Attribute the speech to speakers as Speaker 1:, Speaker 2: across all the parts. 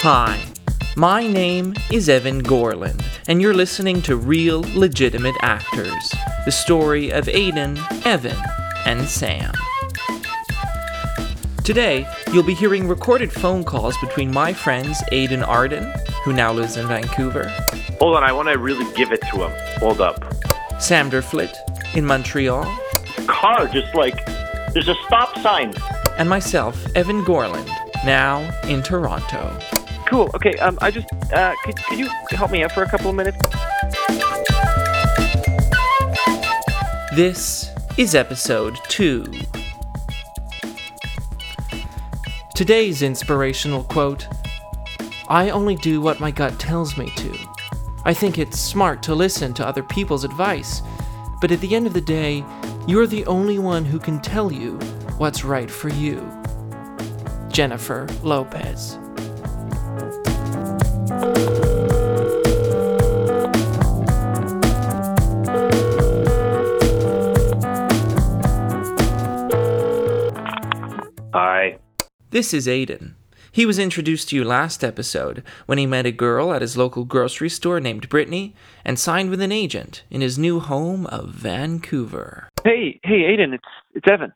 Speaker 1: Hi, my name is Evan Gorland, and you're listening to Real Legitimate Actors the story of Aiden, Evan, and Sam. Today, you'll be hearing recorded phone calls between my friends Aiden Arden, who now lives in Vancouver,
Speaker 2: Hold on, I want to really give it to him. Hold up.
Speaker 1: Sam Derflit in Montreal,
Speaker 2: Car, just like, there's a stop sign.
Speaker 1: and myself, Evan Gorland, now in Toronto.
Speaker 3: Cool. Okay. Um, I just uh, could, could you help me out for a couple of minutes?
Speaker 1: This is episode 2. Today's inspirational quote I only do what my gut tells me to. I think it's smart to listen to other people's advice, but at the end of the day, you're the only one who can tell you what's right for you. Jennifer Lopez.
Speaker 2: Hi.
Speaker 1: This is Aiden. He was introduced to you last episode when he met a girl at his local grocery store named Brittany and signed with an agent in his new home of Vancouver.
Speaker 3: Hey, hey, Aiden, it's it's Evan.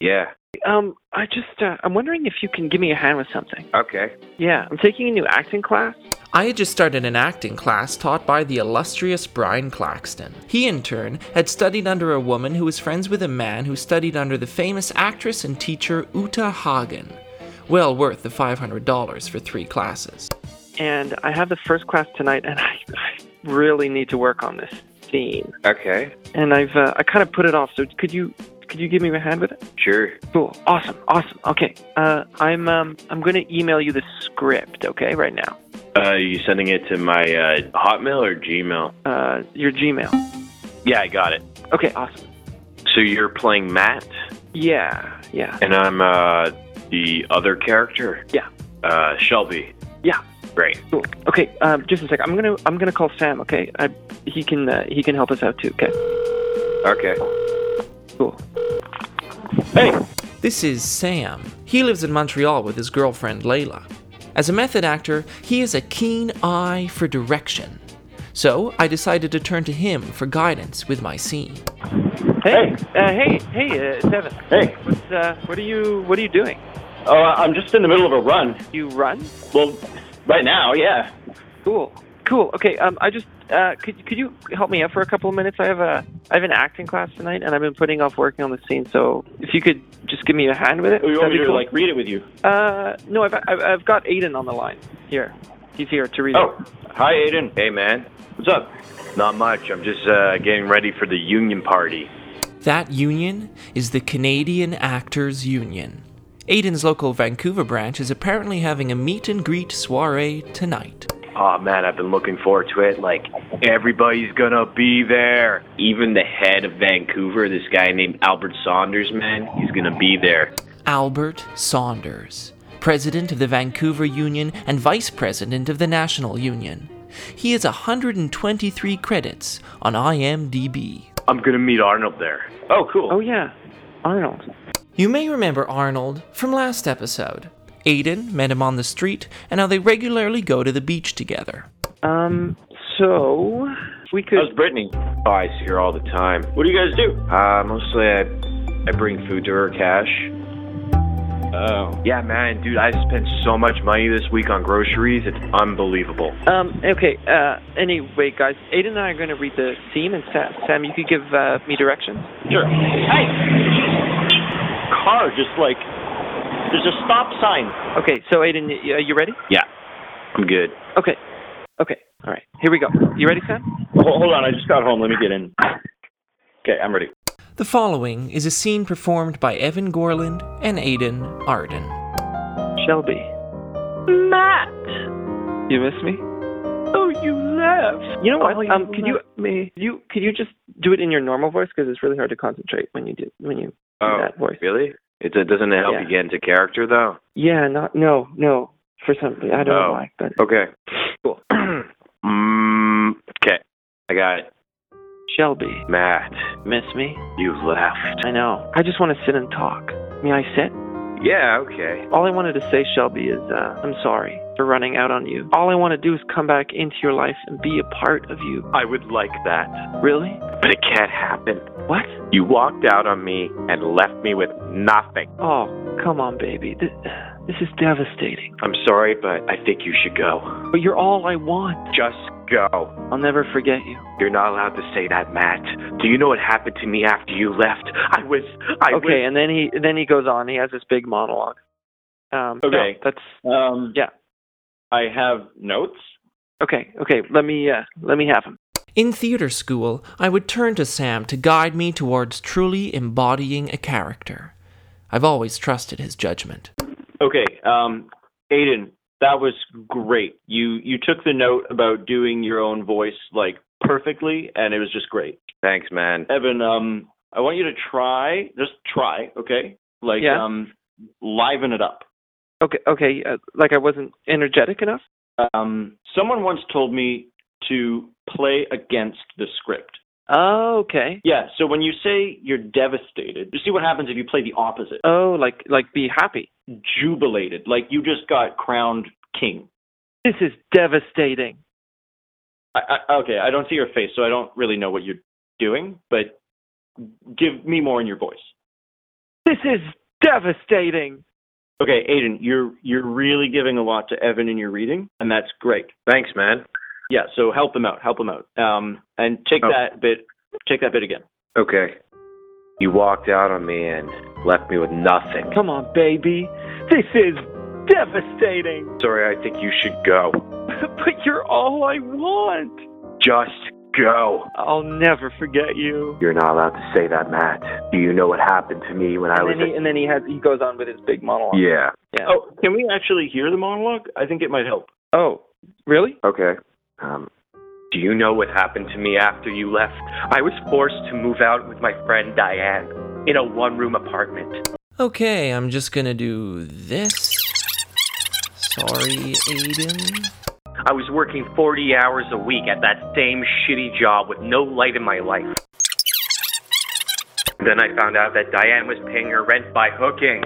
Speaker 2: Yeah.
Speaker 3: Um, I just uh, I'm wondering if you can give me a hand with something.
Speaker 2: Okay.
Speaker 3: Yeah, I'm taking a new acting class.
Speaker 1: I had just started an acting class taught by the illustrious Brian Claxton. He, in turn, had studied under a woman who was friends with a man who studied under the famous actress and teacher Uta Hagen. Well worth the $500 for three classes.
Speaker 3: and I have the first class tonight, and I, I really need to work on this scene.
Speaker 2: Okay.
Speaker 3: And I've uh, I kind of put it off. So could you could you give me a hand with it?
Speaker 2: Sure.
Speaker 3: Cool. Awesome. Awesome. Okay. Uh, I'm um I'm gonna email you the script. Okay, right now.
Speaker 2: Uh, are you sending it to my uh, Hotmail or Gmail?
Speaker 3: Uh, your Gmail.
Speaker 2: Yeah, I got it.
Speaker 3: Okay. Awesome.
Speaker 2: So you're playing Matt,
Speaker 3: Yeah. Yeah.
Speaker 2: and I'm uh, the other character?
Speaker 3: Yeah.
Speaker 2: Uh, Shelby.
Speaker 3: Yeah.
Speaker 2: Great.
Speaker 3: Cool. Okay, um, just a sec. I'm gonna I'm gonna call Sam. Okay, I, he can uh, he can help us out too. Okay,
Speaker 2: Okay.
Speaker 3: cool.
Speaker 2: Hey.
Speaker 1: This is Sam. He lives in Montreal with his girlfriend Layla. As a method actor, he has a keen eye for direction. So I decided to turn to him for guidance with my scene.
Speaker 3: Hey, uh, hey, hey, uh, it's Evan.
Speaker 4: Hey,
Speaker 3: What's uh, what are you what are you doing?
Speaker 4: oh, I'm just in the middle of a run.
Speaker 3: You run?
Speaker 4: Well, right now, yeah.
Speaker 3: Cool, cool. Okay, um, I just uh, could could you help me out for a couple of minutes? I have a I have an acting class tonight, and I've been putting off working on the scene. So if you could just give me a hand with it,
Speaker 4: Oh, you
Speaker 3: that'd
Speaker 4: want me
Speaker 3: be
Speaker 4: to
Speaker 3: cool.
Speaker 4: like read it with you?
Speaker 3: uh, no, I've, I've I've got Aiden on the line here. He's here to read.
Speaker 4: Oh, hi, Aiden.
Speaker 2: Hey, man.
Speaker 4: What's up?
Speaker 2: Not much. I'm just uh, getting ready for the union party.
Speaker 1: That union is the Canadian Actors Union. Aiden's local Vancouver branch is apparently having a meet and greet soiree tonight.
Speaker 2: Oh man, I've been looking forward to it. Like everybody's gonna be there. Even the head of Vancouver, this guy named Albert Saunders, man, he's gonna be there.
Speaker 1: Albert Saunders, president of the Vancouver Union and vice president of the National Union. He has 123 credits on IMDb.
Speaker 2: I'm gonna meet Arnold there.
Speaker 4: Oh, cool.
Speaker 3: Oh yeah, Arnold.
Speaker 1: You may remember Arnold from last episode. Aiden met him on the street, and now they regularly go to the beach together.
Speaker 3: Um, so we could.
Speaker 4: How's Brittany?
Speaker 2: Oh, I see her all the time.
Speaker 4: What do you guys do?
Speaker 2: Uh, mostly I, I bring food to her cash.
Speaker 4: Oh,
Speaker 2: Yeah, man, dude, I spent so much money this week on groceries. It's unbelievable.
Speaker 4: Oh.
Speaker 3: Um, okay, uh, anyway, guys, Aiden and I are going to read the scene, and Sam, Sam you could give uh, me directions.
Speaker 4: sure. Hey, car, just like there's a stop sign.
Speaker 3: Okay, so Aiden, y- uh, you ready?
Speaker 2: Yeah, I'm good.
Speaker 3: Okay, okay, all right, here we go. You ready, Sam?
Speaker 4: Ho- Hold on, I just got home. Let me get in. Okay, I'm ready.
Speaker 1: The following is a scene performed by Evan Gorland and Aidan Arden.
Speaker 3: Shelby. Matt! You miss me? Oh, you left. You know what? um, could you me? You could you just do it in your normal voice because it's really hard to concentrate when you do when you
Speaker 2: Oh,
Speaker 3: do that voice.
Speaker 2: really? It, it doesn't help
Speaker 3: Yeah.
Speaker 2: you get into character though.
Speaker 3: Yeah, not no no for some I don't know
Speaker 2: Oh.
Speaker 3: why, but
Speaker 2: Okay.
Speaker 3: Cool.
Speaker 2: mm, okay. I got it.
Speaker 3: Shelby,
Speaker 2: Matt,
Speaker 3: miss me?
Speaker 2: you left.
Speaker 3: I know. I just want to sit and talk. May I sit?
Speaker 2: Yeah, okay.
Speaker 3: All I wanted to say, Shelby, is uh, I'm sorry for running out on you. All I want to do is come back into your life and be a part of you.
Speaker 4: I would like that.
Speaker 3: Really?
Speaker 2: But it can't happen.
Speaker 3: What?
Speaker 2: You walked out on me and left me with nothing.
Speaker 3: Oh, come on, baby. This, this is devastating.
Speaker 2: I'm sorry, but I think you should go.
Speaker 3: But you're all I want.
Speaker 2: Just go.
Speaker 3: I'll never forget you.
Speaker 2: You're not allowed to say that, Matt. Do you know what happened to me after you left? I was. I was.
Speaker 3: okay, and then he then he goes on. He has this big monologue. Um, no,
Speaker 4: Okay.
Speaker 3: that's
Speaker 4: Um,
Speaker 3: Yeah.
Speaker 4: I have notes.
Speaker 3: okay. Okay, let me uh, let me have him.
Speaker 1: In theater school, I would turn to Sam to guide me towards truly embodying a character. I've always trusted his judgment.
Speaker 4: Okay, um, Aiden, that was great. You you took the note about doing your own voice like perfectly, and it was just great.
Speaker 2: Thanks, man.
Speaker 4: Evan, um, I want you to try, just try, okay? Like,
Speaker 3: Yeah.
Speaker 4: um, liven it up.
Speaker 3: Okay, okay. Uh, like I wasn't energetic enough.
Speaker 4: Um, someone once told me to play against the script.
Speaker 3: Oh, okay.
Speaker 4: Yeah, so when you say you're devastated, you see what happens if you play the opposite.
Speaker 3: Oh, like like be happy.
Speaker 4: Jubilated, like you just got crowned king.
Speaker 3: This is devastating.
Speaker 4: I, I, okay, I don't see your face, so I don't really know what you're doing, but give me more in your voice.
Speaker 3: This is devastating.
Speaker 4: Okay, Aiden, you're you're really giving a lot to Evan in your reading, and that's great.
Speaker 2: Thanks, man.
Speaker 4: Yeah, so help him out, help him out, um, and take
Speaker 2: Oh.
Speaker 4: that bit, take that bit again.
Speaker 2: Okay. You walked out on me and left me with nothing.
Speaker 3: Come on, baby. This is devastating.
Speaker 2: Sorry, I think you should go.
Speaker 3: but you're all I want.
Speaker 2: Just go.
Speaker 3: I'll never forget you.
Speaker 2: You're not allowed to say that, Matt. Do you know what happened to me when I
Speaker 3: And
Speaker 2: was
Speaker 3: then, he, and then he has he goes on with his big
Speaker 2: a...
Speaker 3: monologue.
Speaker 2: Yeah.
Speaker 3: Yeah.
Speaker 4: Oh, can we actually hear the monologue? I think it might help.
Speaker 3: Oh, really?
Speaker 2: Okay. Um, do you know what happened to me after you left? I was forced to move out with my friend Diane in a one room apartment.
Speaker 1: Okay, I'm just gonna do this. Sorry, Aiden.
Speaker 2: I was working 40 hours a week at that same shitty job with no light in my life. Then I found out that Diane was paying her rent by hooking.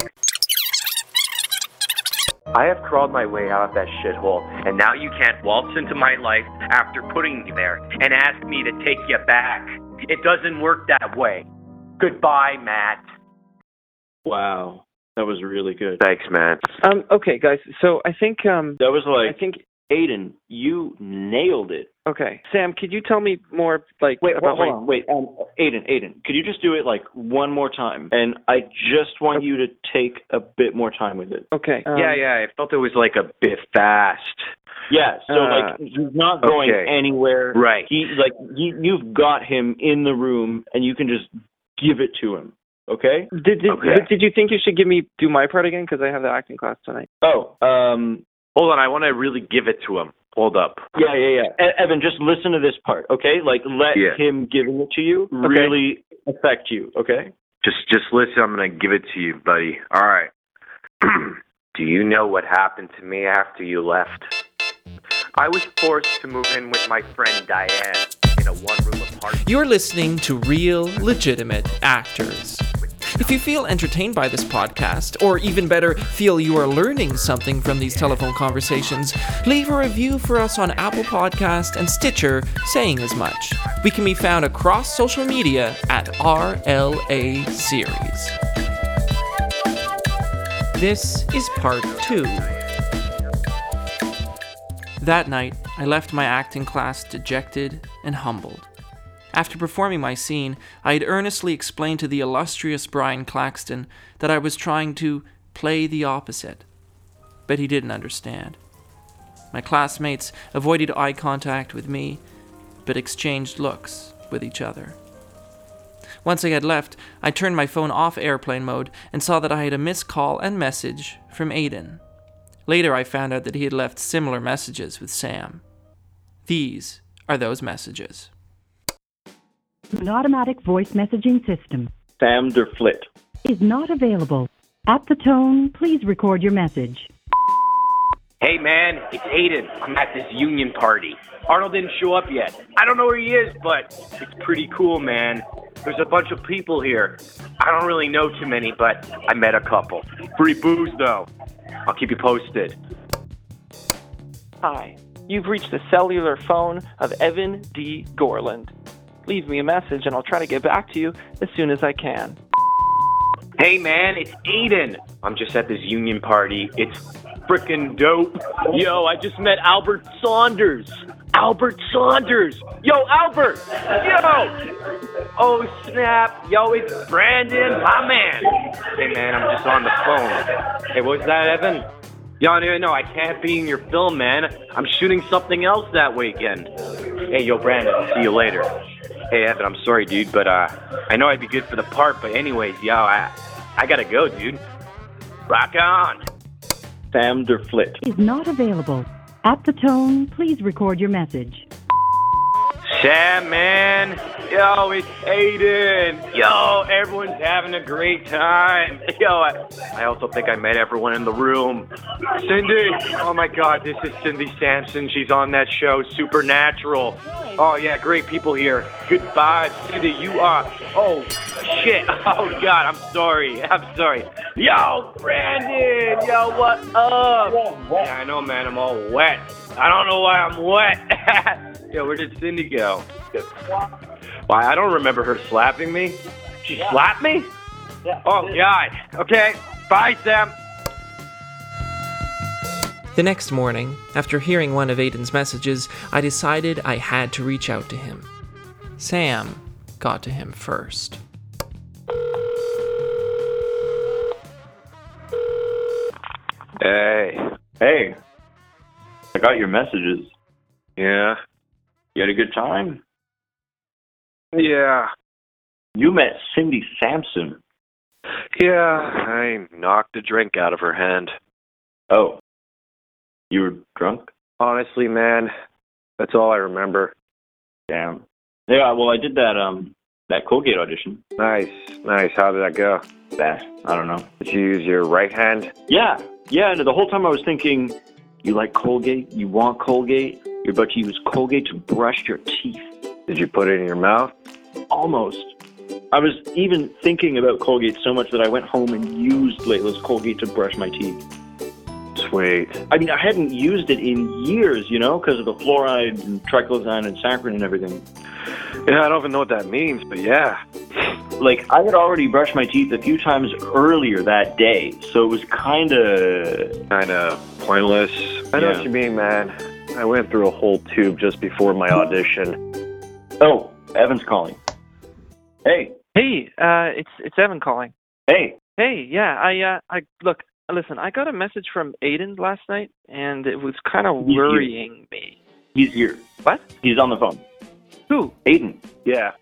Speaker 2: I have crawled my way out of that shithole, and now you can't waltz into my life after putting me there and ask me to take you back. It doesn't work that way. Goodbye, Matt.
Speaker 4: Wow, that was really good.
Speaker 2: Thanks, man.
Speaker 3: Um, okay, guys. So I think um,
Speaker 4: That was like
Speaker 3: I think
Speaker 4: Aiden, you nailed it.
Speaker 3: okay. Sam, could you tell me more like
Speaker 4: Wait,
Speaker 3: about
Speaker 4: hold, hold
Speaker 3: my-
Speaker 4: on. Wait, um, Aiden, Aiden, could you just do it like one more time? And I just want you to take a bit more time with it.
Speaker 3: Okay. um,
Speaker 2: yeah, yeah, I felt it was like a bit fast.
Speaker 4: Yeah. So
Speaker 3: Uh,
Speaker 4: like, he's not going
Speaker 2: okay.
Speaker 4: anywhere.
Speaker 2: Right.
Speaker 4: He like you, you've got him in the room, and you can just give it to him. Okay.
Speaker 3: Did did,
Speaker 2: Okay.
Speaker 3: did you think you should give me do my part again because I have the acting class tonight?
Speaker 4: Oh, um,
Speaker 2: Hold on, I want to really give it to him. Hold up.
Speaker 4: Yeah, yeah, yeah. E- Evan, just listen to this part, okay? Like, let
Speaker 2: Yeah.
Speaker 4: him giving it to you really affect you, okay?
Speaker 2: Just just listen, I'm gonna give it to you, buddy. Alright. Do you know what happened to me after you left? I was forced to move in with my friend Diane in a one room apartment.
Speaker 1: You're listening to real, legitimate actors. If you feel entertained by this podcast, or even better, feel you are learning something from these telephone conversations, leave a review for us on Apple Podcast and Stitcher saying as much. We can be found across social media at RLA Series. This is part two. That night, I left my acting class dejected and humbled. After performing my scene, I had earnestly explained to the illustrious Brian Claxton that I was trying to play the opposite. But he didn't understand. My classmates avoided eye contact with me, but exchanged looks with each other. Once I had left, I turned my phone off airplane mode and saw that I had a missed call and message from Aiden. Later, I found out that he had left similar messages with Sam. These are those messages.
Speaker 5: An automatic voice messaging system
Speaker 4: Sam Derflit.
Speaker 5: is not available. At the tone, please record your message.
Speaker 2: Hey man, it's Aiden. I'm at this union party. Arnold didn't show up yet. I don't know where he is, but it's pretty cool, man. There's a bunch of people here. I don't really know too many, but I met a couple. Free booze, though. I'll keep you posted.
Speaker 3: Hi, you've reached the cellular phone of Evan D. Gorland. Leave me a message and I'll try to get back to you as soon as I can.
Speaker 2: Hey, man, it's Aiden. I'm just at this union party. It's frickin' dope.
Speaker 4: Yo, I just met Albert Saunders. Albert Saunders. Yo, Albert.
Speaker 2: Yo! Oh, snap. Yo, it's Brandon, my man. Hey, man, I'm just on the phone. Hey, what's that, Evan? Yo, no, no, I can't be in your film, man. I'm shooting something else that weekend. Hey, yo, Brandon, see you later. Hey, Evan, I'm sorry, dude, but uh, I know I'd be good for the part, but anyways, yo, I, I gotta go, dude. Rock on.
Speaker 4: Sam Derflit.
Speaker 5: Is not available. At the tone, please record your message.
Speaker 2: Sam, man. Yo, it's Aiden. Yo, everyone's having a great time. Yo, I, I also think I met everyone in the room. Cindy. Oh my God, this is Cindy Sampson. She's on that show, Supernatural. Oh yeah, great people here. Good vibes, Cindy. You are. Oh shit. Oh God, I'm sorry. I'm sorry. Yo, Brandon. Yo, what up? Yeah, I know, man. I'm all wet. I don't know why I'm wet. Yo, where did Cindy go? Why, I don't remember her slapping me. She slapped me? Oh, God. Okay. Bye, Sam.
Speaker 1: The next morning, after hearing one of Aiden's messages, I decided I had to reach out to him. Sam got to him first.
Speaker 2: Hey.
Speaker 4: Hey, I got your messages.
Speaker 2: Yeah.
Speaker 4: You had a good time?
Speaker 2: Yeah.
Speaker 4: You met Cindy Sampson.
Speaker 2: Yeah. I knocked a drink out of her hand.
Speaker 4: Oh. You were drunk?
Speaker 2: Honestly, man, that's all I remember.
Speaker 4: Damn. Yeah, well I did that um that Colgate audition.
Speaker 2: Nice. Nice. How did that go?
Speaker 4: That I don't know.
Speaker 2: Did you use your right hand?
Speaker 4: Yeah. Yeah, and the whole time I was thinking, you like Colgate, you want Colgate, you're about to use Colgate to brush your teeth.
Speaker 2: Did you put it in your mouth?
Speaker 4: Almost. I was even thinking about Colgate so much that I went home and used Layla's Colgate to brush my teeth.
Speaker 2: Sweet.
Speaker 4: I mean, I hadn't used it in years, you know, because of the fluoride and triclosan and saccharin and everything.
Speaker 2: Yeah, I don't even know what that means, but yeah.
Speaker 4: Like, I had already brushed my teeth a few times earlier that day, so it was kind of.
Speaker 2: Kind of pointless. I know
Speaker 4: Yeah.
Speaker 2: what you mean, man. I went through a whole tube just before my audition.
Speaker 4: Oh, Evan's calling. Hey,
Speaker 3: Hey, uh, it's it's Evan calling.
Speaker 4: hey.
Speaker 3: Hey, yeah, I uh, I look, listen, I got a message from Aiden last night, and it was kind of
Speaker 4: you.
Speaker 3: worrying me.
Speaker 4: He's here.
Speaker 3: What?
Speaker 4: He's on the phone.
Speaker 3: Who?
Speaker 4: Aiden.
Speaker 2: Yeah.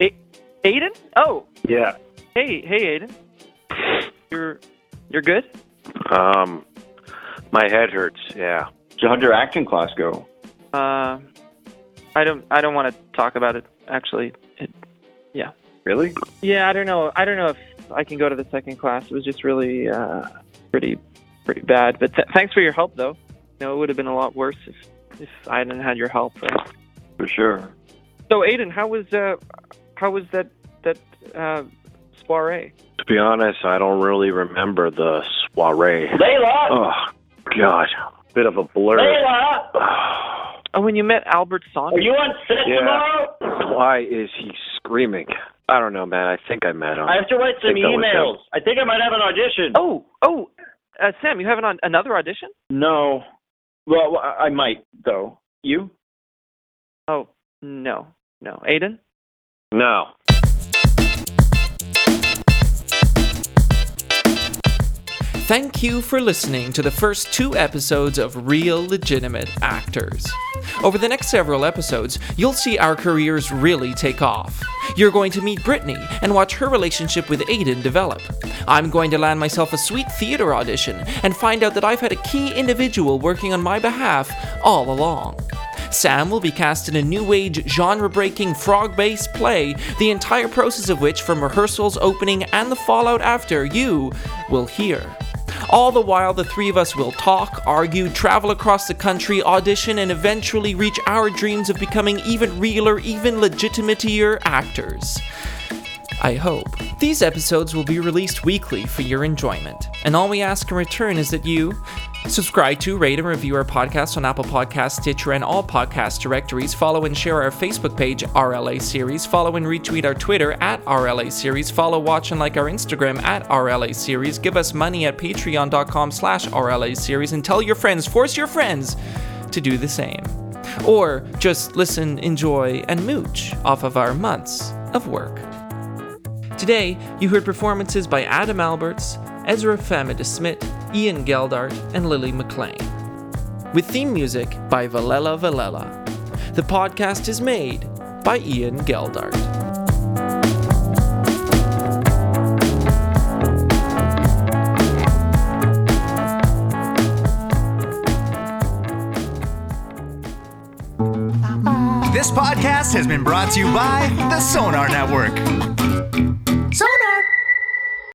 Speaker 3: Aiden? Oh,
Speaker 2: Yeah.
Speaker 3: hey, hey, Aiden. You're you're good?
Speaker 2: Um, my head hurts. Yeah.
Speaker 4: So how'd your acting class go?
Speaker 3: Uh, I don't I don't want to talk about it. Actually, it,
Speaker 2: Really?
Speaker 3: yeah, I don't know. I don't know if I can go to the second class. It was just really uh, pretty pretty bad. But th- thanks for your help, though. You know, it would have been a lot worse if if I hadn't had your help.
Speaker 4: For sure.
Speaker 3: So, Aiden, how was uh, how was that that uh, soiree?
Speaker 2: To be honest, I don't really remember the soiree.
Speaker 4: Layla!
Speaker 2: Oh, God. Bit of a blur.
Speaker 4: Layla!
Speaker 3: Oh, when you met Albert Saunders.
Speaker 4: on set
Speaker 2: Yeah. tomorrow? Why is he screaming? I don't know, man. I think I met him.
Speaker 4: have to write
Speaker 2: some Think that was emails.
Speaker 4: I think I might have an audition.
Speaker 3: oh, oh, uh, Sam, you have an, another audition?
Speaker 4: No. Well, well, I I might, though. You?
Speaker 3: Oh, no, no, Aiden.
Speaker 2: No.
Speaker 1: Thank you for listening to the first two episodes of Real Legitimate Actors. Over the next several episodes, you'll see our careers really take off. You're going to meet Brittany and watch her relationship with Aiden develop. I'm going to land myself a sweet theater audition and find out that I've had a key individual working on my behalf all along. Sam will be cast in a new age, genre breaking, frog based play, the entire process of which, from rehearsals, opening, and the fallout after, you will hear. All the while, the three of us will talk, argue, travel across the country, audition, and eventually reach our dreams of becoming even realer, even legitimatier actors. I hope. These episodes will be released weekly for your enjoyment, and all we ask in return is that you subscribe to, rate, and review our podcast on Apple Podcasts, Stitcher, and all podcast directories. Follow and share our Facebook page, RLA Series. Follow and retweet our Twitter at RLA Series. Follow, watch, and like our Instagram at RLA Series. Give us money at patreon.com slash RLA Series, and tell your friends, force your friends to do the same. Or just listen, enjoy, and mooch off of our months of work. Today, you heard performances by Adam Alberts, Ezra Famida Smith, Ian Geldart, and Lily McLean. With theme music by Valella Valella. The podcast is made by Ian Geldart.
Speaker 6: This podcast has been brought to you by the Sonar Network.